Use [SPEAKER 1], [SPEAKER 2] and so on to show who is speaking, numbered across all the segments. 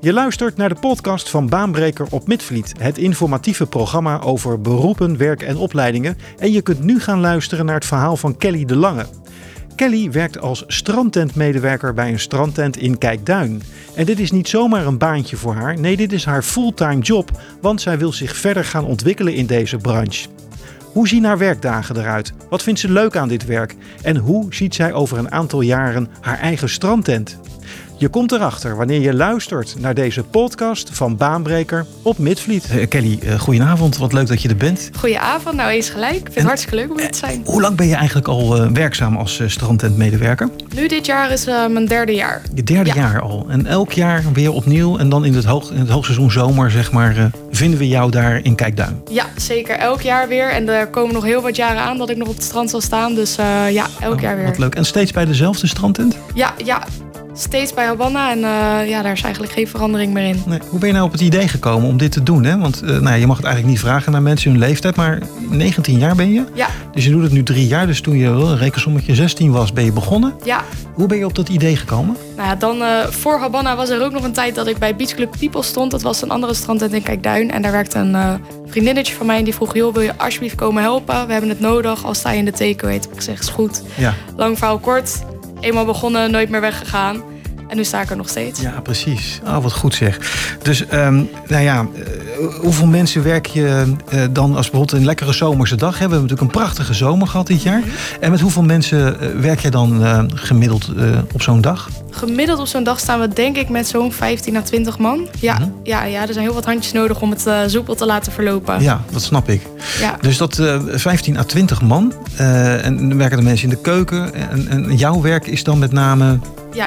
[SPEAKER 1] Je luistert naar de podcast van Baanbreker op Midvliet, het informatieve programma over beroepen, werk en opleidingen. En je kunt nu gaan luisteren naar het verhaal van Kelly de Lange. Kelly werkt als strandtentmedewerker bij een strandtent in Kijkduin. En dit is niet zomaar een baantje voor haar, nee, dit is haar fulltime job, want zij wil zich verder gaan ontwikkelen in deze branche. Hoe zien haar werkdagen eruit? Wat vindt ze leuk aan dit werk? En hoe ziet zij over een aantal jaren haar eigen strandtent? Je komt erachter wanneer je luistert naar deze podcast van Baanbreker op Midvliet. Eh, Kelly, eh, goedenavond. Wat leuk dat je er bent.
[SPEAKER 2] Goedenavond, nou eens gelijk. Ik vind
[SPEAKER 1] En- Eh.
[SPEAKER 2] het hartstikke leuk om hier te zijn.
[SPEAKER 1] Hoe lang ben je eigenlijk al eh, werkzaam als eh, strandtentmedewerker?
[SPEAKER 2] Nu dit jaar is eh, mijn derde jaar.
[SPEAKER 1] Je derde
[SPEAKER 2] Ja.
[SPEAKER 1] jaar al. En elk jaar weer opnieuw. En dan in het, hoog, in het hoogseizoen zomer, zeg maar, eh, vinden we jou daar in Kijkduin.
[SPEAKER 2] Ja, zeker. Elk jaar weer. En er komen nog heel wat jaren aan dat ik nog op het strand zal staan. Dus eh, ja, elk jaar
[SPEAKER 1] Oh, Wat
[SPEAKER 2] weer.
[SPEAKER 1] leuk. En steeds bij dezelfde strandtent?
[SPEAKER 2] Ja, ja. Steeds bij Havana. En eh, ja, daar is eigenlijk geen verandering meer in.
[SPEAKER 1] Nee. Hoe ben je nou op het idee gekomen om dit te doen? Hè? Want eh, nou, ja, je mag het eigenlijk niet vragen naar mensen hun leeftijd. Maar 19 jaar ben je.
[SPEAKER 2] Ja,
[SPEAKER 1] Dus je doet het nu drie jaar. Dus toen je wel een rekensommetje 16 was, ben je begonnen.
[SPEAKER 2] ja.
[SPEAKER 1] Hoe ben je op dat idee gekomen?
[SPEAKER 2] Nou ja, dan eh, voor Havana was er ook nog een tijd dat ik bij Beach Club People stond. Dat was een andere strandtent in Kijkduin. En daar werkte een eh, vriendinnetje van mij en die vroeg... joh, wil je alsjeblieft komen helpen? We hebben het nodig. Al sta je in de takeaway. Toen heb ik gezegd, is goed.
[SPEAKER 1] Ja,
[SPEAKER 2] Lang verhaal kort. Eenmaal begonnen, nooit meer weggegaan. En nu sta ik er nog steeds.
[SPEAKER 1] ja precies. Oh, wat goed zeg. Dus ehm, nou ja, eh, hoeveel mensen werk je eh, dan als bijvoorbeeld een lekkere zomerse dag? Hè? We hebben natuurlijk een prachtige zomer gehad dit jaar. En met hoeveel mensen eh, werk jij dan eh, gemiddeld eh, op zo'n dag?
[SPEAKER 2] Gemiddeld op zo'n dag staan we denk ik met zo'n 15 à 20 man. Ja,
[SPEAKER 1] Mhm.
[SPEAKER 2] ja, ja, er zijn heel wat handjes nodig om het eh, soepel te laten verlopen. Ja.
[SPEAKER 1] Ja, dat snap ik.
[SPEAKER 2] Ja.
[SPEAKER 1] Dus dat eh 15 à 20 man. eh, en dan werken de mensen in de keuken. En, en jouw werk is dan met name...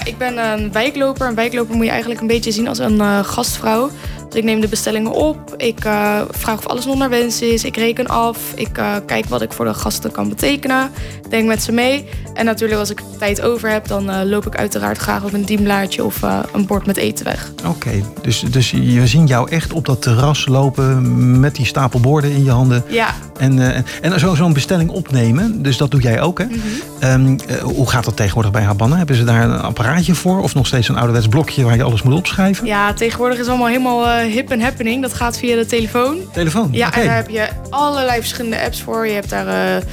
[SPEAKER 2] ik ben een wijkloper. Een wijkloper moet je eigenlijk een beetje zien als een eh, gastvrouw. Dus ik neem de bestellingen op. Ik eh, vraag of alles nog naar wens is. Ik reken af. Ik eh, kijk wat ik voor de gasten kan betekenen. Denk met ze mee. En natuurlijk als ik tijd over heb, dan eh, loop ik uiteraard graag op een diemlaartje of eh, een bord met eten weg.
[SPEAKER 1] Oké, dus, dus we zien jou echt op dat terras lopen met die stapel borden in je handen.
[SPEAKER 2] Ja,
[SPEAKER 1] En, eh, en zo, zo'n bestelling opnemen, dus dat doe jij ook, hè?
[SPEAKER 2] Mhm.
[SPEAKER 1] Ehm, eh, hoe gaat dat tegenwoordig bij Habana? Hebben ze daar een apparaatje voor? Of nog steeds een ouderwets blokje waar je alles moet opschrijven?
[SPEAKER 2] Ja, tegenwoordig is het allemaal helemaal eh, hip en happening. Dat gaat via de telefoon.
[SPEAKER 1] Telefoon?
[SPEAKER 2] Ja,
[SPEAKER 1] Oké.
[SPEAKER 2] en eh, daar heb je allerlei verschillende apps voor. Je hebt daar eh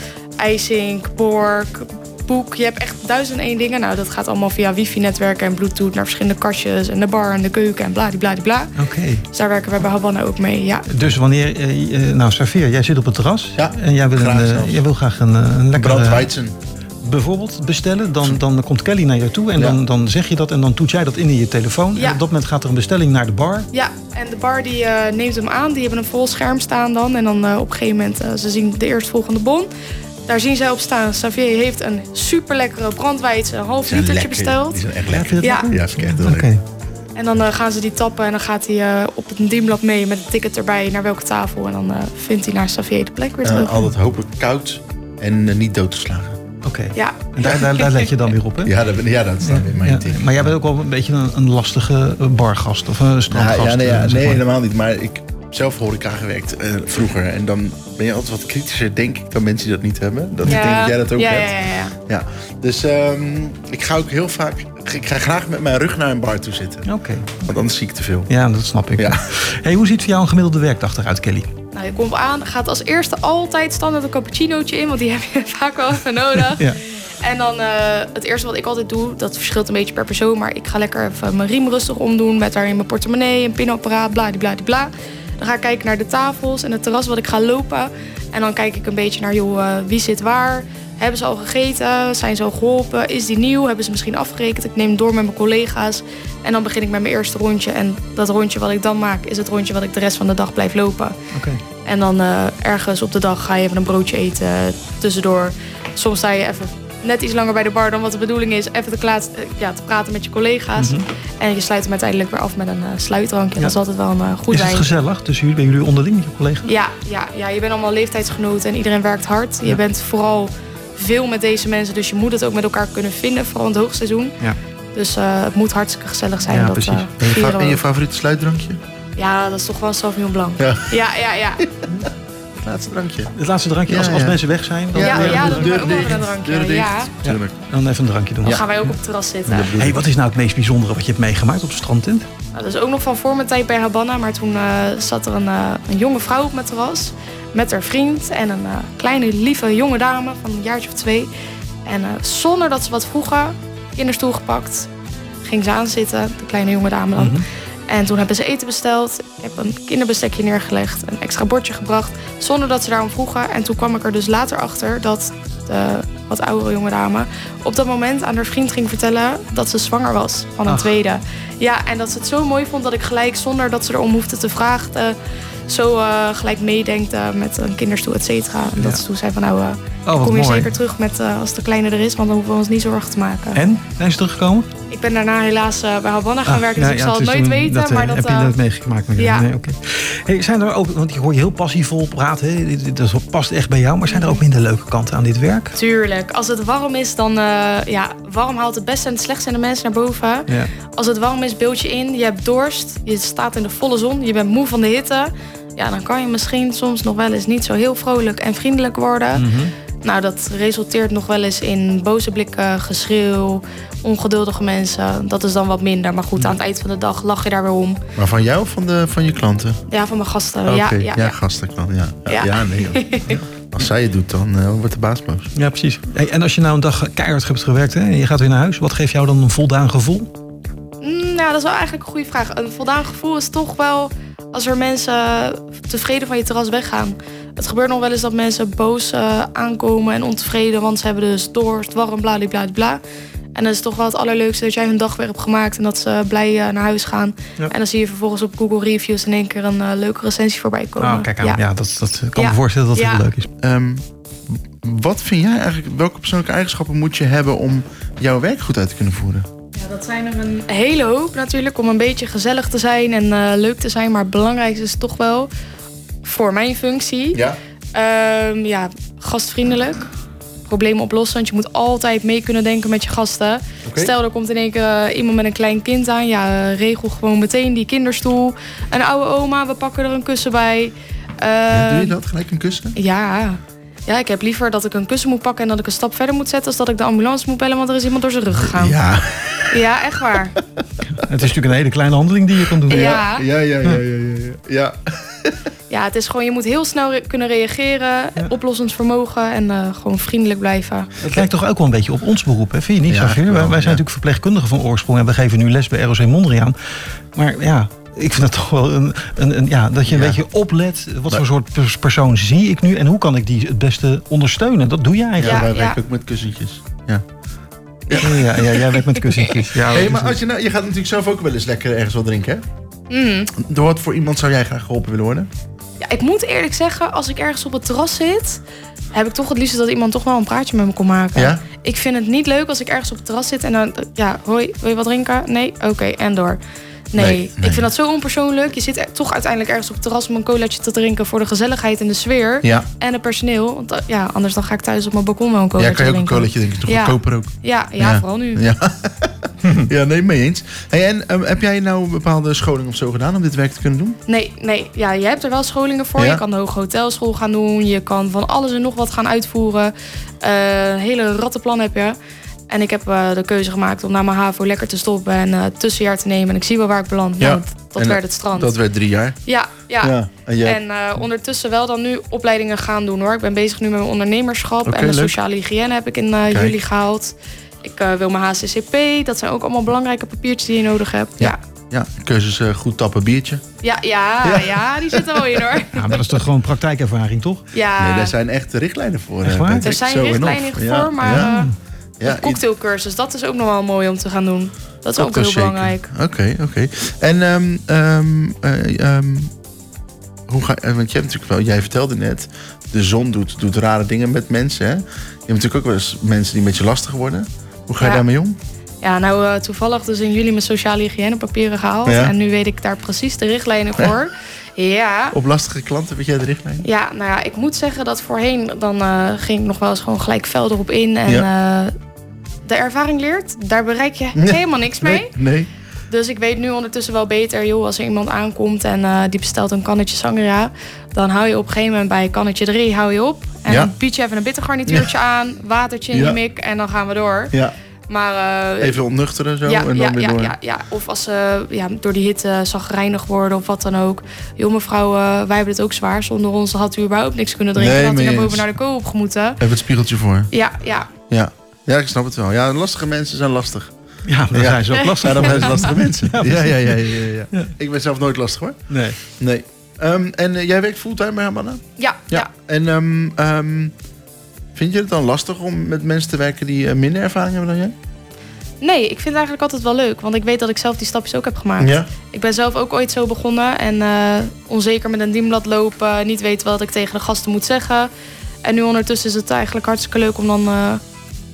[SPEAKER 2] iSync, Borg, Boek. Je hebt echt duizend en één dingen. Nou, dat gaat allemaal via wifi-netwerken en bluetooth naar verschillende kastjes... en de bar en de keuken en bladibladibla.
[SPEAKER 1] Oké.
[SPEAKER 2] Dus daar werken wij bij Habana ook mee, ja.
[SPEAKER 1] Dus wanneer... eh, eh, nou, Safir, jij zit op het terras.
[SPEAKER 3] Ja,
[SPEAKER 1] en jij wil,
[SPEAKER 3] graag
[SPEAKER 1] een, eh,
[SPEAKER 3] zelfs.
[SPEAKER 1] jij wil graag een, eh, een lekkere...
[SPEAKER 3] Brandweizen.
[SPEAKER 1] bijvoorbeeld bestellen. Dan, dan komt Kelly naar jou toe en
[SPEAKER 3] Ja.
[SPEAKER 1] dan, dan zeg je dat. En dan toet jij dat in in je telefoon.
[SPEAKER 2] Ja.
[SPEAKER 1] En op dat moment gaat er een bestelling naar de bar.
[SPEAKER 2] Ja, en de bar die eh, neemt hem aan. Die hebben een vol scherm staan dan. En dan eh, op een gegeven moment, eh, ze zien de eerstvolgende bon. Daar zien zij op staan. Xavier heeft een super lekkere brandwijdse, een half
[SPEAKER 3] Die zijn
[SPEAKER 2] litertje
[SPEAKER 3] lekker.
[SPEAKER 2] besteld.
[SPEAKER 3] Die zijn echt
[SPEAKER 1] Ja, vind
[SPEAKER 3] lekker.
[SPEAKER 1] je dat
[SPEAKER 2] Ja.
[SPEAKER 1] lekker?
[SPEAKER 3] Ja, vind ik echt heel
[SPEAKER 1] Oké.
[SPEAKER 3] lekker.
[SPEAKER 2] En dan eh, gaan ze die tappen en dan gaat hij eh, op het dienblad mee met een ticket erbij naar welke tafel. En dan eh, vindt hij naar Xavier de plek weer terug.
[SPEAKER 3] Eh, altijd hopelijk koud en eh, niet dood te slagen.
[SPEAKER 1] Oké.
[SPEAKER 2] Ja,
[SPEAKER 1] En daar, daar, daar let je dan weer op, hè?
[SPEAKER 3] Ja, dat, ben- ja, dat staat in mijn
[SPEAKER 1] Ja,
[SPEAKER 3] ding.
[SPEAKER 1] maar jij bent ook wel een beetje een, een lastige eh, bargast of een strandgast.
[SPEAKER 3] Ja, ja, nee, ja,
[SPEAKER 1] eh, zeg
[SPEAKER 3] nee,
[SPEAKER 1] maar.
[SPEAKER 3] helemaal niet. Maar ik heb zelf horeca gewerkt eh, vroeger. En dan ben je altijd wat kritischer, denk ik, dan mensen die dat niet hebben. Dat ik denk dat jij dat ook
[SPEAKER 2] ja,
[SPEAKER 3] hebt.
[SPEAKER 2] Ja, ja, ja.
[SPEAKER 3] Ja. Dus ehm, ik ga ook heel vaak... Ik ga graag met mijn rug naar een bar toe zitten.
[SPEAKER 1] Oké.
[SPEAKER 3] Want anders zie ik te veel.
[SPEAKER 1] Ja, dat snap ik.
[SPEAKER 3] Ja.
[SPEAKER 1] Hey, hoe ziet voor jou een gemiddelde werkdag eruit, Kelly?
[SPEAKER 2] Nou, je komt aan, gaat als eerste altijd standaard een cappuccinootje in, want die heb je vaak wel even nodig.
[SPEAKER 1] Ja.
[SPEAKER 2] En dan eh, het eerste wat ik altijd doe, dat verschilt een beetje per persoon, maar ik ga lekker even mijn riem rustig omdoen met daarin mijn portemonnee, een pinapparaat, bladibladibla. Dan ga ik kijken naar de tafels en het terras wat ik ga lopen. En dan kijk ik een beetje naar, joh, eh, wie zit waar? Hebben ze al gegeten? Zijn ze al geholpen? Is die nieuw? Hebben ze misschien afgerekend? Ik neem door met mijn collega's. En dan begin ik met mijn eerste rondje. En dat rondje wat ik dan maak, is het rondje wat ik de rest van de dag blijf lopen.
[SPEAKER 1] Oké.
[SPEAKER 2] En dan eh, ergens op de dag ga je even een broodje eten eh, tussendoor. Soms sta je even net iets langer bij de bar dan wat de bedoeling is. Even te, klaats- eh, ja, te praten met je collega's. En je sluit hem uiteindelijk weer af met een eh, sluitdrankje.
[SPEAKER 1] Mhm. Ja.
[SPEAKER 2] Dat is altijd wel een eh, goed
[SPEAKER 1] Is het
[SPEAKER 2] wijn.
[SPEAKER 1] gezellig tussen jullie, bij jullie onderling, met je collega?
[SPEAKER 2] Ja, ja, ja, je bent allemaal leeftijdsgenoten en iedereen werkt hard.
[SPEAKER 1] Ja.
[SPEAKER 2] Je bent vooral veel met deze mensen, dus je moet het ook met elkaar kunnen vinden. Vooral in het hoogseizoen.
[SPEAKER 1] Ja.
[SPEAKER 2] Dus eh, het moet hartstikke gezellig zijn.
[SPEAKER 1] Ja,
[SPEAKER 2] dat,
[SPEAKER 1] precies.
[SPEAKER 2] eh,
[SPEAKER 3] En je, fa-
[SPEAKER 2] vieren we
[SPEAKER 3] en je
[SPEAKER 2] ook.
[SPEAKER 3] favoriete sluitdrankje?
[SPEAKER 2] ja, dat is toch wel een Sauvignon Blanc.
[SPEAKER 3] Ja.
[SPEAKER 2] ja, ja. ja.
[SPEAKER 3] het laatste drankje.
[SPEAKER 1] Het laatste drankje,
[SPEAKER 3] Ja,
[SPEAKER 1] als, als
[SPEAKER 3] ja.
[SPEAKER 1] mensen weg zijn, dan,
[SPEAKER 2] Ja,
[SPEAKER 1] eh,
[SPEAKER 2] ja,
[SPEAKER 1] dan-
[SPEAKER 2] dat doen we ook wel een drankje,
[SPEAKER 3] Deuren dicht.
[SPEAKER 2] ja.
[SPEAKER 3] Tuurlijk.
[SPEAKER 1] dan even een drankje doen.
[SPEAKER 2] Dan
[SPEAKER 1] Ja.
[SPEAKER 2] gaan wij ook op het terras zitten.
[SPEAKER 3] Dat bedoel
[SPEAKER 1] Hey,
[SPEAKER 3] ik.
[SPEAKER 1] wat is nou het meest bijzondere wat je hebt meegemaakt op de strandtent?
[SPEAKER 2] Nou, dat is ook nog van voor mijn tijd bij Habana, maar toen eh, zat er een, eh, een jonge vrouw op mijn terras met haar vriend en een eh, kleine lieve jonge dame van een jaartje of twee. En eh, zonder dat ze wat vroegen, kinderstoel gepakt, ging ze aanzitten, de kleine jonge dame
[SPEAKER 1] Mhm.
[SPEAKER 2] dan.
[SPEAKER 1] Oh,
[SPEAKER 2] En toen hebben ze eten besteld. Ik heb een kinderbestekje neergelegd, een extra bordje gebracht, zonder dat ze daarom vroegen. En toen kwam ik er dus later achter dat de wat oudere jonge dame op dat moment aan haar vriend ging vertellen dat ze zwanger was van een
[SPEAKER 1] Ach.
[SPEAKER 2] tweede. Ja, en dat ze het zo mooi vond dat ik gelijk, zonder dat ze erom hoefde te vragen, eh, zo eh, gelijk meedenkt eh, met een kinderstoel, et cetera. En dat
[SPEAKER 1] Ja.
[SPEAKER 2] ze toen zei van nou, eh,
[SPEAKER 1] Oh, wat
[SPEAKER 2] kom je
[SPEAKER 1] mooi.
[SPEAKER 2] zeker terug met, eh, als de kleine er is, want dan hoeven we ons niet zorgen te maken.
[SPEAKER 1] En? Zijn ze teruggekomen?
[SPEAKER 2] Ik ben daarna helaas eh, bij Havana gaan
[SPEAKER 1] Ah,
[SPEAKER 2] werken, dus
[SPEAKER 1] ja,
[SPEAKER 2] ik
[SPEAKER 1] ja,
[SPEAKER 2] zal het
[SPEAKER 1] is
[SPEAKER 2] nooit
[SPEAKER 1] toen-
[SPEAKER 2] weten.
[SPEAKER 1] dat, eh,
[SPEAKER 2] maar dat,
[SPEAKER 1] heb je
[SPEAKER 2] eh,
[SPEAKER 1] dat meegemaakt? Maar
[SPEAKER 2] ja.
[SPEAKER 1] Nee, oké. hey, zijn er ook, want ik hoor je heel passievol praten, hè, dit- dit- dat past echt bij jou. Maar zijn er ook minder leuke kanten aan dit werk?
[SPEAKER 2] Tuurlijk. Als het warm is, dan... eh, ja, warm haalt het beste en het slechtste in de mensen naar boven.
[SPEAKER 1] Ja.
[SPEAKER 2] Als het warm is, beeld je in. Je hebt dorst. Je staat in de volle zon. Je bent moe van de hitte. Ja, dan kan je misschien soms nog wel eens niet zo heel vrolijk en vriendelijk worden.
[SPEAKER 1] Hm. Mhm.
[SPEAKER 2] Nou, dat resulteert nog wel eens in boze blikken, geschreeuw, ongeduldige mensen. Dat is dan wat minder. Maar goed, aan het eind van de dag lach je daar weer om.
[SPEAKER 3] Maar van jou of van, de, van je klanten?
[SPEAKER 2] Ja, van mijn gasten.
[SPEAKER 3] Oké,
[SPEAKER 2] Ja, ja, ja.
[SPEAKER 3] gasten klanten. Ja, ja,
[SPEAKER 2] Ja.
[SPEAKER 3] ja, nee. joh. Ja. Als zij het doet, dan eh, wordt de baas boos.
[SPEAKER 1] Ja, precies. Hey, en als je nou een dag keihard hebt gewerkt hè, en je gaat weer naar huis, wat geeft jou dan een voldaan gevoel?
[SPEAKER 2] Mm, nou, dat is wel eigenlijk een goede vraag. Een voldaan gevoel is toch wel als er mensen tevreden van je terras weggaan. Het gebeurt nog wel eens dat mensen boos eh, aankomen en ontevreden, want ze hebben dus dorst, warm, bla bla bla. En dat is toch wel het allerleukste dat jij hun dag weer hebt gemaakt en dat ze blij eh, naar huis gaan.
[SPEAKER 1] Ja.
[SPEAKER 2] En dan zie je vervolgens op Google Reviews in één keer een eh, leuke recensie voorbij komen.
[SPEAKER 1] Nou, kijk aan. Ja, dat, dat ik kan me
[SPEAKER 2] Ja.
[SPEAKER 1] voorstellen dat dat
[SPEAKER 2] Ja.
[SPEAKER 1] heel leuk is.
[SPEAKER 3] Ehm, wat vind jij eigenlijk, welke persoonlijke eigenschappen moet je hebben om jouw werk goed uit te kunnen voeren?
[SPEAKER 2] Ja, dat zijn er een hele hoop natuurlijk om een beetje gezellig te zijn en eh, leuk te zijn. Maar het belangrijkste is toch wel voor mijn functie.
[SPEAKER 3] Ja.
[SPEAKER 2] Ehm, ja, gastvriendelijk. Problemen oplossen, want je moet altijd mee kunnen denken met je gasten. Stel, er komt in één keer eh, iemand met een klein kind aan. Ja, eh, regel gewoon meteen die kinderstoel. Een oude oma, we pakken er een kussen bij. Eh,
[SPEAKER 3] Ja, doe je dat gelijk een kussen?
[SPEAKER 2] Ja. Ja, ik heb liever dat ik een kussen moet pakken en dat ik een stap verder moet zetten... als dat ik de ambulance moet bellen, want er is iemand door zijn rug gegaan. Ja,
[SPEAKER 3] Ja.
[SPEAKER 2] echt waar.
[SPEAKER 1] Het is natuurlijk een hele kleine handeling die je kan doen.
[SPEAKER 2] Ja.
[SPEAKER 3] Ja, ja, ja, ja, ja. ja. ja.
[SPEAKER 2] ja, het is gewoon, je moet heel snel re- kunnen reageren, oplossend vermogen... en eh, gewoon vriendelijk blijven.
[SPEAKER 1] Het lijkt toch ook wel een beetje op ons beroep, hè? vind je niet,
[SPEAKER 3] Ja,
[SPEAKER 1] Xavier? Wij, wij
[SPEAKER 3] wel,
[SPEAKER 1] zijn
[SPEAKER 3] ja.
[SPEAKER 1] natuurlijk verpleegkundigen van oorsprong en we geven nu les bij ROC Mondriaan. Maar ja, ik vind dat toch wel een, een, een- ja, dat je een
[SPEAKER 3] Ja.
[SPEAKER 1] beetje oplet. Wat voor soort pers- persoon zie ik nu en hoe kan ik die het beste ondersteunen? Dat doe je
[SPEAKER 3] Ja,
[SPEAKER 1] eigenlijk.
[SPEAKER 3] wij
[SPEAKER 2] ja.
[SPEAKER 3] werken ook met kussentjes. Ja.
[SPEAKER 1] Ja, ja, jij werkt met kussentjes. Ja,
[SPEAKER 3] Hey,
[SPEAKER 1] dat
[SPEAKER 3] maar
[SPEAKER 1] is-
[SPEAKER 3] als je, nou, je gaat natuurlijk zelf ook wel eens lekker ergens wat drinken, hè?
[SPEAKER 2] Mm.
[SPEAKER 3] Door wat voor iemand zou jij graag geholpen willen worden?
[SPEAKER 2] Ja, ik moet eerlijk zeggen, als ik ergens op het terras zit, heb ik toch het liefst dat iemand toch wel een praatje met me kon maken.
[SPEAKER 3] Ja?
[SPEAKER 2] Ik vind het niet leuk als ik ergens op het terras zit en dan, eh, ja, hoi, wil je wat drinken? Nee, oké, en door. Nee,
[SPEAKER 3] Nee, nee.
[SPEAKER 2] ik vind dat zo onpersoonlijk. Je zit er- toch uiteindelijk ergens op het terras om een colaatje te drinken voor de gezelligheid en de sfeer.
[SPEAKER 3] Ja.
[SPEAKER 2] En het personeel. Want eh, ja, anders dan ga ik thuis op mijn balkon wel een
[SPEAKER 3] Ja,
[SPEAKER 2] colaatje
[SPEAKER 3] kan je ook een
[SPEAKER 2] drinken.
[SPEAKER 3] colaatje drinken. Toch
[SPEAKER 2] Ja.
[SPEAKER 3] goedkoper ook.
[SPEAKER 2] Ja, ja,
[SPEAKER 3] Ja.
[SPEAKER 2] vooral nu.
[SPEAKER 3] Ja, ja nee, mee eens. Hey, en ehm, heb jij nou een bepaalde scholing of zo gedaan om dit werk te kunnen doen?
[SPEAKER 2] Nee, nee. Ja, je hebt er wel scholingen voor.
[SPEAKER 3] Ja.
[SPEAKER 2] Je kan de hoge hotelschool gaan doen. Je kan van alles en nog wat gaan uitvoeren. Eh, een hele rattenplan heb je. En ik heb eh, de keuze gemaakt om na mijn HAVO lekker te stoppen en eh, tussenjaar te nemen. En ik zie wel waar ik beland.
[SPEAKER 3] Ja.
[SPEAKER 2] Nou, dat- dat
[SPEAKER 3] En, eh,
[SPEAKER 2] werd het strand.
[SPEAKER 3] Dat werd drie jaar.
[SPEAKER 2] Ja, ja.
[SPEAKER 3] En jij?
[SPEAKER 2] En eh, ondertussen wel dan nu opleidingen gaan doen hoor. Ik ben bezig nu met mijn ondernemerschap.
[SPEAKER 3] Oké,
[SPEAKER 2] en de
[SPEAKER 3] leuk.
[SPEAKER 2] sociale hygiëne heb ik in eh,
[SPEAKER 3] Kijk.
[SPEAKER 2] juli gehaald. Ik eh, wil mijn HCCP. Dat zijn ook allemaal belangrijke papiertjes die je nodig hebt.
[SPEAKER 3] Ja. Ja, keuzes eh, goed tappen biertje.
[SPEAKER 2] Ja, ja, ja, ja, die zitten er wel in hoor.
[SPEAKER 1] Ja, maar dat is toch gewoon praktijkervaring, toch?
[SPEAKER 2] Ja.
[SPEAKER 3] Nee, daar zijn echt richtlijnen voor.
[SPEAKER 1] Echt
[SPEAKER 3] eh,
[SPEAKER 1] waar?
[SPEAKER 3] Patrick.
[SPEAKER 2] Ah. Er zijn
[SPEAKER 3] Zo en
[SPEAKER 2] richtlijnen
[SPEAKER 3] of.
[SPEAKER 2] voor,
[SPEAKER 3] Ja,
[SPEAKER 2] maar
[SPEAKER 3] ja,
[SPEAKER 2] eh,
[SPEAKER 3] ja,
[SPEAKER 2] een cocktailcursus, dat is ook nog wel mooi om te gaan doen. Dat is ook heel
[SPEAKER 3] cocktails shaken.
[SPEAKER 2] belangrijk.
[SPEAKER 3] Oké, oké. En ehm, ehm, eh, ehm, hoe ga eh, Want jij hebt natuurlijk wel, jij vertelde net, de zon doet, doet rare dingen met mensen. Hè? Je hebt natuurlijk ook wel eens mensen die een beetje lastig worden. Hoe ga je
[SPEAKER 2] Ja.
[SPEAKER 3] daarmee om?
[SPEAKER 2] Ja, nou eh, toevallig dus in juli mijn sociale hygiënepapieren gehaald.
[SPEAKER 3] Ja.
[SPEAKER 2] En nu weet ik daar precies de richtlijnen voor. Ja.
[SPEAKER 3] Op lastige klanten, weet jij de richtlijnen?
[SPEAKER 2] Ja, nou ja, ik moet zeggen dat voorheen dan eh, ging ik nog wel eens gewoon gelijk fel erop in. En eh, de ervaring leert, daar bereik je helemaal niks mee.
[SPEAKER 3] Nee. nee.
[SPEAKER 2] Dus ik weet nu ondertussen wel beter, joh, als er iemand aankomt en eh, die bestelt een kannetje sangria, dan hou je op een gegeven moment bij kannetje 3 hou je op. En
[SPEAKER 3] Ja.
[SPEAKER 2] dan bied je even een bittergarnituurtje aan, watertje in
[SPEAKER 3] Ja.
[SPEAKER 2] je mik en dan gaan we door.
[SPEAKER 3] Ja,
[SPEAKER 2] Maar eh,
[SPEAKER 3] even ontnuchteren zo
[SPEAKER 2] ja,
[SPEAKER 3] en dan
[SPEAKER 2] ja,
[SPEAKER 3] weer
[SPEAKER 2] ja,
[SPEAKER 3] door.
[SPEAKER 2] ja, ja. Of als ze ja, door die hitte zagrijnig worden of wat dan ook. Joh, mevrouw, eh, wij hebben het ook zwaar. Zonder ons had u überhaupt niks kunnen drinken.
[SPEAKER 3] Nee,
[SPEAKER 2] had u
[SPEAKER 3] mee
[SPEAKER 2] naar
[SPEAKER 3] eens.
[SPEAKER 2] boven naar de koop gemoeten.
[SPEAKER 3] Even het spiegeltje voor.
[SPEAKER 2] Ja, ja.
[SPEAKER 3] Ja. ja, ik snap het wel. Ja, lastige mensen zijn lastig.
[SPEAKER 1] Ja, dan
[SPEAKER 3] Ja.
[SPEAKER 1] zijn ze ook lastig.
[SPEAKER 3] Ja, dan zijn ze lastige mensen. Ja, ja,
[SPEAKER 1] precies.
[SPEAKER 3] ja, ja, ja,
[SPEAKER 1] Ja.
[SPEAKER 3] Ik ben zelf nooit lastig hoor.
[SPEAKER 1] Nee.
[SPEAKER 3] Nee. Ehm, en eh, jij werkt fulltime bij Havana?
[SPEAKER 2] Ja, ja.
[SPEAKER 3] En ehm, ehm, vind je het dan lastig om met mensen te werken die eh, minder ervaring hebben dan jij?
[SPEAKER 2] Nee, ik vind het eigenlijk altijd wel leuk. Want ik weet dat ik zelf die stapjes ook heb gemaakt. Ik ben zelf ook ooit zo begonnen. En eh, onzeker met een dienblad lopen. Niet weten wat ik tegen de gasten moet zeggen. En nu ondertussen is het eigenlijk hartstikke leuk om dan eh,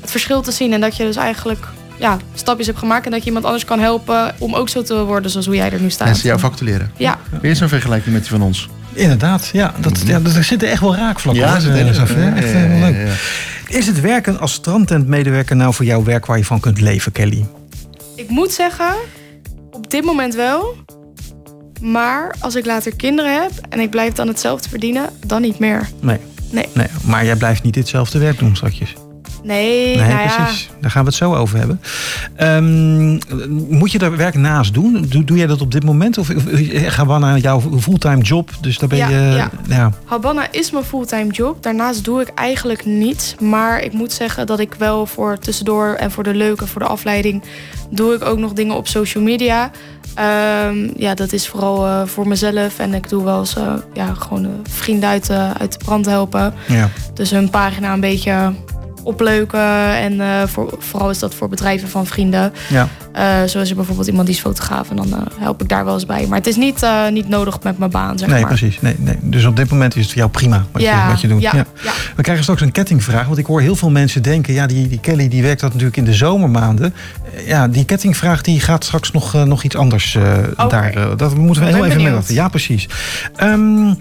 [SPEAKER 2] het verschil te zien. En dat je dus eigenlijk ja, stapjes hebt gemaakt. En dat je iemand anders kan helpen om ook zo te worden zoals hoe jij er nu staat.
[SPEAKER 3] Mensen jouw vak te leren.
[SPEAKER 2] Ja,
[SPEAKER 3] Weer zo'n vergelijking met die van ons.
[SPEAKER 1] Inderdaad, ja. Dat, ja dat, er zitten echt wel raakvlakken. hoor.
[SPEAKER 3] dat
[SPEAKER 1] Eh,
[SPEAKER 3] is
[SPEAKER 1] Saf, hè?
[SPEAKER 3] Ja,
[SPEAKER 1] Echt
[SPEAKER 3] ja,
[SPEAKER 1] eh,
[SPEAKER 3] ja,
[SPEAKER 1] leuk.
[SPEAKER 3] ja, ja.
[SPEAKER 1] Is het werken als strandtentmedewerker nou voor jou werk waar je van kunt leven, Kelly?
[SPEAKER 2] ik moet zeggen, op dit moment wel. Maar als ik later kinderen heb en ik blijf dan hetzelfde verdienen, dan niet meer.
[SPEAKER 1] Nee.
[SPEAKER 2] Nee.
[SPEAKER 1] nee. Maar jij blijft niet ditzelfde werk doen straks.
[SPEAKER 2] Nee,
[SPEAKER 1] Nee,
[SPEAKER 2] nou ja.
[SPEAKER 1] precies. Daar gaan we het zo over hebben. Ehm, moet je daar werk naast doen? Doe, doe jij dat op dit moment? Of, of ga we naar jouw fulltime job? Dus daar ben
[SPEAKER 2] Ja,
[SPEAKER 1] je...
[SPEAKER 2] ja.
[SPEAKER 1] ja.
[SPEAKER 2] Habana is mijn fulltime job. Daarnaast doe ik eigenlijk niets. Maar ik moet zeggen dat ik wel voor tussendoor en voor de leuke, voor de afleiding, doe ik ook nog dingen op social media. Ehm, ja, dat is vooral eh, voor mezelf. En ik doe wel eens eh, ja, gewoon eh, vrienden uit, eh, uit de brand helpen.
[SPEAKER 1] ja.
[SPEAKER 2] Dus hun pagina een beetje opleuken. En eh, voor, vooral is dat voor bedrijven van vrienden.
[SPEAKER 1] Ja.
[SPEAKER 2] Eh, zoals er bijvoorbeeld iemand die is fotograaf. En dan eh, help ik daar wel eens bij. Maar het is niet, eh, niet nodig met mijn baan, zeg
[SPEAKER 1] Nee,
[SPEAKER 2] maar.
[SPEAKER 1] precies. Nee, nee. Dus op dit moment is het voor jou prima wat, je, wat je doet.
[SPEAKER 2] ja, ja.
[SPEAKER 1] We krijgen straks een kettingvraag. Want ik hoor heel veel mensen denken... ja, die, die Kelly die werkt dat natuurlijk in de zomermaanden. Eh, Ja, die kettingvraag die gaat straks nog, eh, nog iets anders eh, daar. eh, dat moeten we
[SPEAKER 2] Ik
[SPEAKER 1] heel
[SPEAKER 2] ben
[SPEAKER 1] even
[SPEAKER 2] benieuwd.
[SPEAKER 1] melden. Ja, precies. Ehm,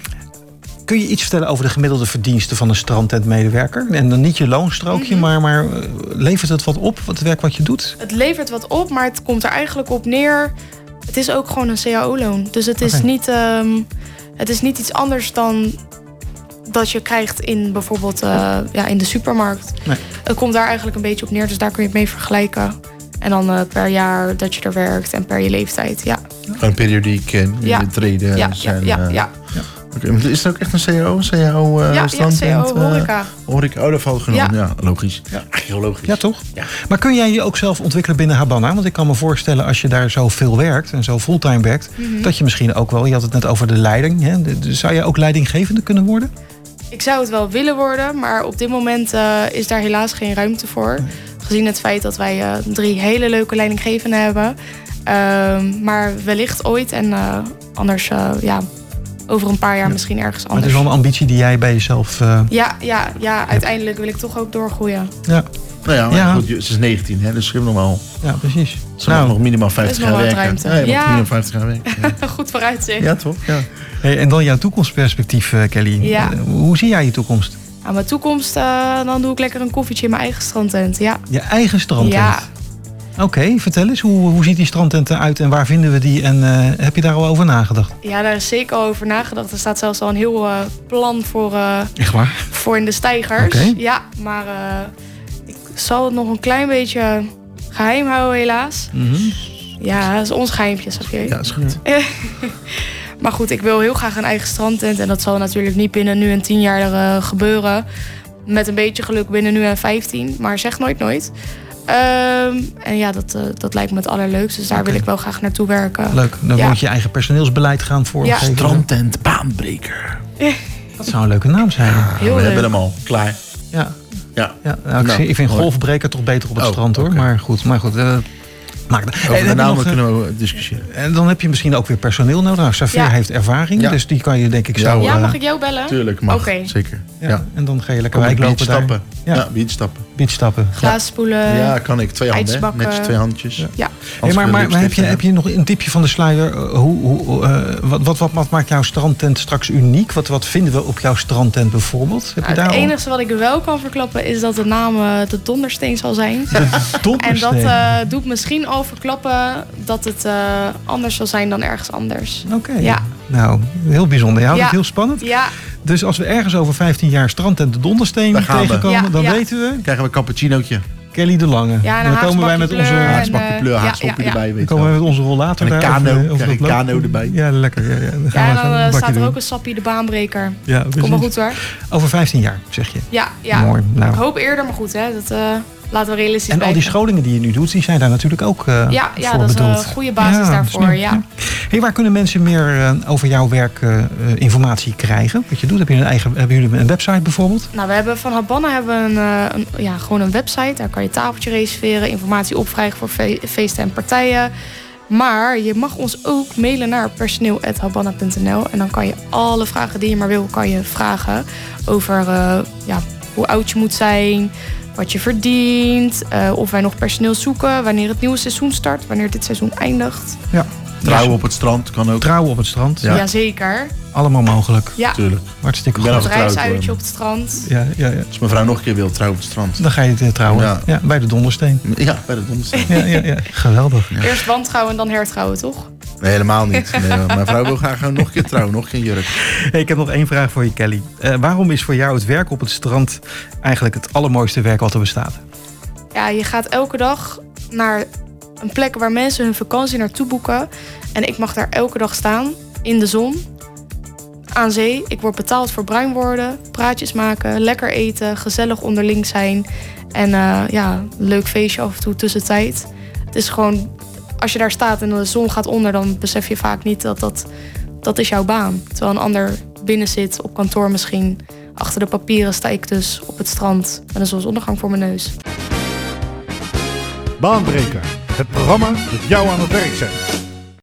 [SPEAKER 1] kun je iets vertellen over de gemiddelde verdiensten van een strandtentmedewerker? En dan niet je loonstrookje,
[SPEAKER 2] Mhm.
[SPEAKER 1] maar, maar eh, levert het wat op, het werk wat je doet?
[SPEAKER 2] Het levert wat op, maar het komt er eigenlijk op neer. Het is ook gewoon een CAO-loon. Dus het is,
[SPEAKER 1] Oké.
[SPEAKER 2] niet, ehm, het is niet iets anders dan dat je krijgt in bijvoorbeeld eh, ja, in de supermarkt.
[SPEAKER 1] Nee.
[SPEAKER 2] Het komt daar eigenlijk een beetje op neer, dus daar kun je het mee vergelijken. En dan eh, per jaar dat je er werkt en per je leeftijd. Ja,
[SPEAKER 3] Gewoon periodiek en
[SPEAKER 2] Ja.
[SPEAKER 3] ja. treden.
[SPEAKER 2] ja, ja,
[SPEAKER 3] zijn,
[SPEAKER 2] ja.
[SPEAKER 3] eh,
[SPEAKER 2] ja.
[SPEAKER 3] oké, maar Is het ook echt een CAO? CAO eh
[SPEAKER 2] ja, ja,
[SPEAKER 3] standpunt?
[SPEAKER 2] CAO,
[SPEAKER 3] eh,
[SPEAKER 2] horeca.
[SPEAKER 3] horeca. Oh, dat valt genomen. Ja. logisch.
[SPEAKER 1] Ja.
[SPEAKER 3] Heel logisch.
[SPEAKER 1] Ja, toch?
[SPEAKER 3] Ja.
[SPEAKER 1] Maar kun jij je ook zelf ontwikkelen binnen Habana? Want ik kan me voorstellen, als je daar zo veel werkt en zo fulltime werkt,
[SPEAKER 2] Mhm.
[SPEAKER 1] dat je misschien ook wel, je had het net over de leiding. Hè? De- de- Zou jij ook leidinggevende kunnen worden?
[SPEAKER 2] Ik zou het wel willen worden, maar op dit moment eh, is daar helaas geen ruimte voor. Gezien het feit dat wij eh, drie hele leuke leidinggevenden hebben. Ehm, maar wellicht ooit en eh, anders, eh, ja, over een paar jaar
[SPEAKER 1] Ja.
[SPEAKER 2] misschien ergens
[SPEAKER 1] Maar het is
[SPEAKER 2] anders.
[SPEAKER 1] wel een ambitie die jij bij jezelf. eh,
[SPEAKER 2] Ja, ja, ja, uiteindelijk wil ik toch ook doorgroeien.
[SPEAKER 1] ja,
[SPEAKER 3] Nou ja, maar
[SPEAKER 1] Ja.
[SPEAKER 3] Goed, je- ze is 19, hè, dus ze hebben nog wel...
[SPEAKER 1] ja, precies.
[SPEAKER 3] Ze mag
[SPEAKER 1] Nou,
[SPEAKER 3] nog minimaal 50
[SPEAKER 2] is nog
[SPEAKER 3] jaar
[SPEAKER 2] wel wat
[SPEAKER 3] werken.
[SPEAKER 2] ruimte.
[SPEAKER 3] Ja, je mag
[SPEAKER 2] Ja.
[SPEAKER 3] minimaal 50 jaar werken. Ja.
[SPEAKER 2] Goed vooruitzicht.
[SPEAKER 3] Ja, toch? Ja.
[SPEAKER 1] hey, en dan jouw toekomstperspectief, eh, Kelly.
[SPEAKER 2] Ja.
[SPEAKER 1] Eh, hoe zie jij je toekomst?
[SPEAKER 2] Aan mijn toekomst, eh, dan doe ik lekker een koffietje in mijn eigen strandtent. Ja.
[SPEAKER 1] Je eigen strandtent.
[SPEAKER 2] Ja.
[SPEAKER 1] Oké, vertel eens, hoe, hoe ziet die strandtent eruit en waar vinden we die? En eh, heb je daar al over nagedacht?
[SPEAKER 2] ja, daar is zeker al over nagedacht. Er staat zelfs al een heel eh, plan voor, eh,
[SPEAKER 1] Echt waar?
[SPEAKER 2] voor in de stijgers.
[SPEAKER 1] Oké.
[SPEAKER 2] Ja, maar eh, ik zal het nog een klein beetje geheim houden, helaas.
[SPEAKER 1] Mhm.
[SPEAKER 2] Ja, dat is ons geheimpje, zeg je.
[SPEAKER 3] ja, is goed.
[SPEAKER 2] Maar goed, ik wil heel graag een eigen strandtent. En dat zal natuurlijk niet binnen nu en tien jaar eh, gebeuren. Met een beetje geluk binnen nu en vijftien. Maar zeg nooit nooit. Ehm, en ja, dat, eh, dat lijkt me het allerleukste. Dus daar
[SPEAKER 1] Oké.
[SPEAKER 2] wil ik wel graag naartoe werken.
[SPEAKER 1] Leuk, dan
[SPEAKER 2] Ja.
[SPEAKER 1] moet je je eigen personeelsbeleid gaan vormgeven.
[SPEAKER 3] Strandtent baanbreker.
[SPEAKER 1] Dat zou een leuke naam zijn.
[SPEAKER 2] Heel
[SPEAKER 3] we hebben
[SPEAKER 2] leuk.
[SPEAKER 3] hem al. Klaar.
[SPEAKER 1] Ja,
[SPEAKER 3] Ja.
[SPEAKER 1] ja nou, ik,
[SPEAKER 3] Nou,
[SPEAKER 1] zie- ik vind
[SPEAKER 3] mooi.
[SPEAKER 1] golfbreker toch beter op het
[SPEAKER 3] Oh,
[SPEAKER 1] strand hoor.
[SPEAKER 3] oké.
[SPEAKER 1] Maar goed, maar goed. eh, maakt het. En
[SPEAKER 3] Over de
[SPEAKER 1] heb je nog,
[SPEAKER 3] namen
[SPEAKER 1] eh,
[SPEAKER 3] kunnen we discussiëren.
[SPEAKER 1] En dan heb je misschien ook weer personeel nodig. Nou, Xavier
[SPEAKER 2] Ja.
[SPEAKER 1] heeft ervaring,
[SPEAKER 3] Ja.
[SPEAKER 1] dus die kan je denk ik
[SPEAKER 3] Ja,
[SPEAKER 1] zo...
[SPEAKER 2] Ja,
[SPEAKER 1] eh,
[SPEAKER 2] mag ik jou bellen?
[SPEAKER 3] Tuurlijk, mag.
[SPEAKER 2] Oké.
[SPEAKER 3] Zeker.
[SPEAKER 1] ja,
[SPEAKER 3] Ja.
[SPEAKER 1] En dan ga je lekker
[SPEAKER 3] Kom op,
[SPEAKER 1] wijk
[SPEAKER 3] beach
[SPEAKER 1] lopen daar.
[SPEAKER 3] stappen.
[SPEAKER 1] Ja.
[SPEAKER 3] Ja, beach stappen.
[SPEAKER 1] Instappen.
[SPEAKER 2] Glazen spoelen.
[SPEAKER 3] Ja, kan ik. Twee handen, hè?
[SPEAKER 2] Eh, ijsbakken.
[SPEAKER 3] Met je twee handjes.
[SPEAKER 1] Ja.
[SPEAKER 2] Ja.
[SPEAKER 1] Hey, maar maar, maar heb, je, heb
[SPEAKER 3] Handjes
[SPEAKER 1] je nog een tipje van de sluier? Eh, Hoe, hoe, eh, wat, wat, wat, wat maakt jouw strandtent straks uniek? Wat, wat vinden we op jouw strandtent bijvoorbeeld? Heb je
[SPEAKER 2] Nou,
[SPEAKER 1] daar
[SPEAKER 2] het
[SPEAKER 1] al
[SPEAKER 2] enige wat ik wel kan verklappen is dat de naam eh, de Dondersteen zal zijn. En dat
[SPEAKER 1] dondersteen?
[SPEAKER 2] eh, doet misschien al verklappen dat het eh, anders zal zijn dan ergens anders.
[SPEAKER 1] Oké,
[SPEAKER 2] ja.
[SPEAKER 1] nou, heel bijzonder. Ja,
[SPEAKER 2] Ja.
[SPEAKER 1] heel spannend.
[SPEAKER 2] Ja,
[SPEAKER 1] Dus als we ergens over 15 jaar strandtent de dondersteen
[SPEAKER 3] Daar gaan we.
[SPEAKER 1] tegenkomen,
[SPEAKER 2] Ja,
[SPEAKER 1] dan
[SPEAKER 2] ja.
[SPEAKER 1] weten we
[SPEAKER 3] Krijgen we een cappuccinootje.
[SPEAKER 1] Kelly de Lange.
[SPEAKER 2] ja en
[SPEAKER 1] dan
[SPEAKER 2] een
[SPEAKER 1] komen wij met onze,
[SPEAKER 2] haaksbakje
[SPEAKER 1] dan
[SPEAKER 2] kleur en, eh,
[SPEAKER 3] Haaksbakje pleur,
[SPEAKER 2] ja,
[SPEAKER 3] haakspoepie
[SPEAKER 2] ja, ja.
[SPEAKER 3] erbij. Weet je
[SPEAKER 1] komen wij
[SPEAKER 3] wel.
[SPEAKER 1] met onze rollator
[SPEAKER 3] En een
[SPEAKER 1] daar, of,
[SPEAKER 3] kano.
[SPEAKER 1] eh, of
[SPEAKER 3] Krijg
[SPEAKER 1] dat
[SPEAKER 3] ik
[SPEAKER 1] loop-
[SPEAKER 3] kano erbij.
[SPEAKER 1] Ja, lekker. Ja, ja. Dan gaan
[SPEAKER 2] Ja,
[SPEAKER 1] wij
[SPEAKER 2] en
[SPEAKER 1] gewoon een
[SPEAKER 2] dan eh,
[SPEAKER 1] bakje
[SPEAKER 2] staat er
[SPEAKER 1] doen.
[SPEAKER 2] ook een sappie de baanbreker.
[SPEAKER 1] Ja,
[SPEAKER 2] Kom maar
[SPEAKER 1] precies.
[SPEAKER 2] goed hoor.
[SPEAKER 1] Over 15 jaar, zeg je.
[SPEAKER 2] Ja, ja.
[SPEAKER 1] Mooi. Nou.
[SPEAKER 2] Ik hoop eerder, maar goed, hè. Dat eh, laten we realistisch
[SPEAKER 1] En al die
[SPEAKER 2] blijven.
[SPEAKER 1] scholingen die je nu doet, die zijn daar natuurlijk ook eh,
[SPEAKER 2] Ja,
[SPEAKER 1] voor
[SPEAKER 2] ja dat is
[SPEAKER 1] bedoeld.
[SPEAKER 2] een goede basis
[SPEAKER 1] Ja,
[SPEAKER 2] daarvoor.
[SPEAKER 1] snap ik,
[SPEAKER 2] Ja.
[SPEAKER 1] Hey, waar kunnen mensen meer eh, over jouw werk eh, eh, informatie krijgen? Wat je doet, heb je een eigen, hebben jullie een website bijvoorbeeld?
[SPEAKER 2] Nou, we hebben van Habana hebben we een, eh, een- ja, gewoon een website. Daar kan je tafeltje reserveren, informatie opvragen voor fe- feesten en partijen. Maar je mag ons ook mailen naar personeel.habana.nl. En dan kan je alle vragen die je maar wil, kan je vragen. Over eh, ja, hoe oud je moet zijn, wat je verdient, eh, of wij nog personeel zoeken, wanneer het nieuwe seizoen start, wanneer dit seizoen eindigt.
[SPEAKER 1] Ja.
[SPEAKER 3] Trouwen op het strand kan ook.
[SPEAKER 1] Trouwen op het strand.
[SPEAKER 3] Ja.
[SPEAKER 2] Jazeker.
[SPEAKER 1] Allemaal mogelijk.
[SPEAKER 2] Ja,
[SPEAKER 3] Natuurlijk.
[SPEAKER 1] Hartstikke
[SPEAKER 3] Ik ben
[SPEAKER 1] goed.
[SPEAKER 2] ons
[SPEAKER 3] al getrouwd,
[SPEAKER 2] reisuitje
[SPEAKER 3] hoor.
[SPEAKER 2] op het strand.
[SPEAKER 1] Ja, ja, ja.
[SPEAKER 3] Als mijn vrouw nog een keer wil, trouwen op het strand.
[SPEAKER 1] Dan ga je eh, trouwen. Ja.
[SPEAKER 3] Ja.
[SPEAKER 1] bij de Dondersteen.
[SPEAKER 3] Ja, bij het ondersteen.
[SPEAKER 1] Ja, ja, ja. Geweldig.
[SPEAKER 2] Eerst wantrouwen en dan hertrouwen, toch?
[SPEAKER 3] Nee, helemaal niet. Nee, maar mijn vrouw wil graag gewoon nog een keer trouwen. Nog geen jurk.
[SPEAKER 1] Hey, ik heb nog één vraag voor je, Kelly. Eh, waarom is voor jou het werk op het strand eigenlijk het allermooiste werk wat er bestaat?
[SPEAKER 2] Ja, je gaat elke dag naar een plek waar mensen hun vakantie naartoe boeken. En ik mag daar elke dag staan, in de zon, aan zee. Ik word betaald voor bruin worden, praatjes maken, lekker eten, gezellig onderling zijn. En eh, ja, een leuk feestje af en toe tussentijd. Het is gewoon, als je daar staat en de zon gaat onder, dan besef je vaak niet dat dat, dat is jouw baan. Terwijl een ander binnen zit, op kantoor misschien. Achter de papieren sta ik dus op het strand met een zonsondergang voor mijn neus.
[SPEAKER 4] Baanbreker. Het programma dat jou aan het werk zet.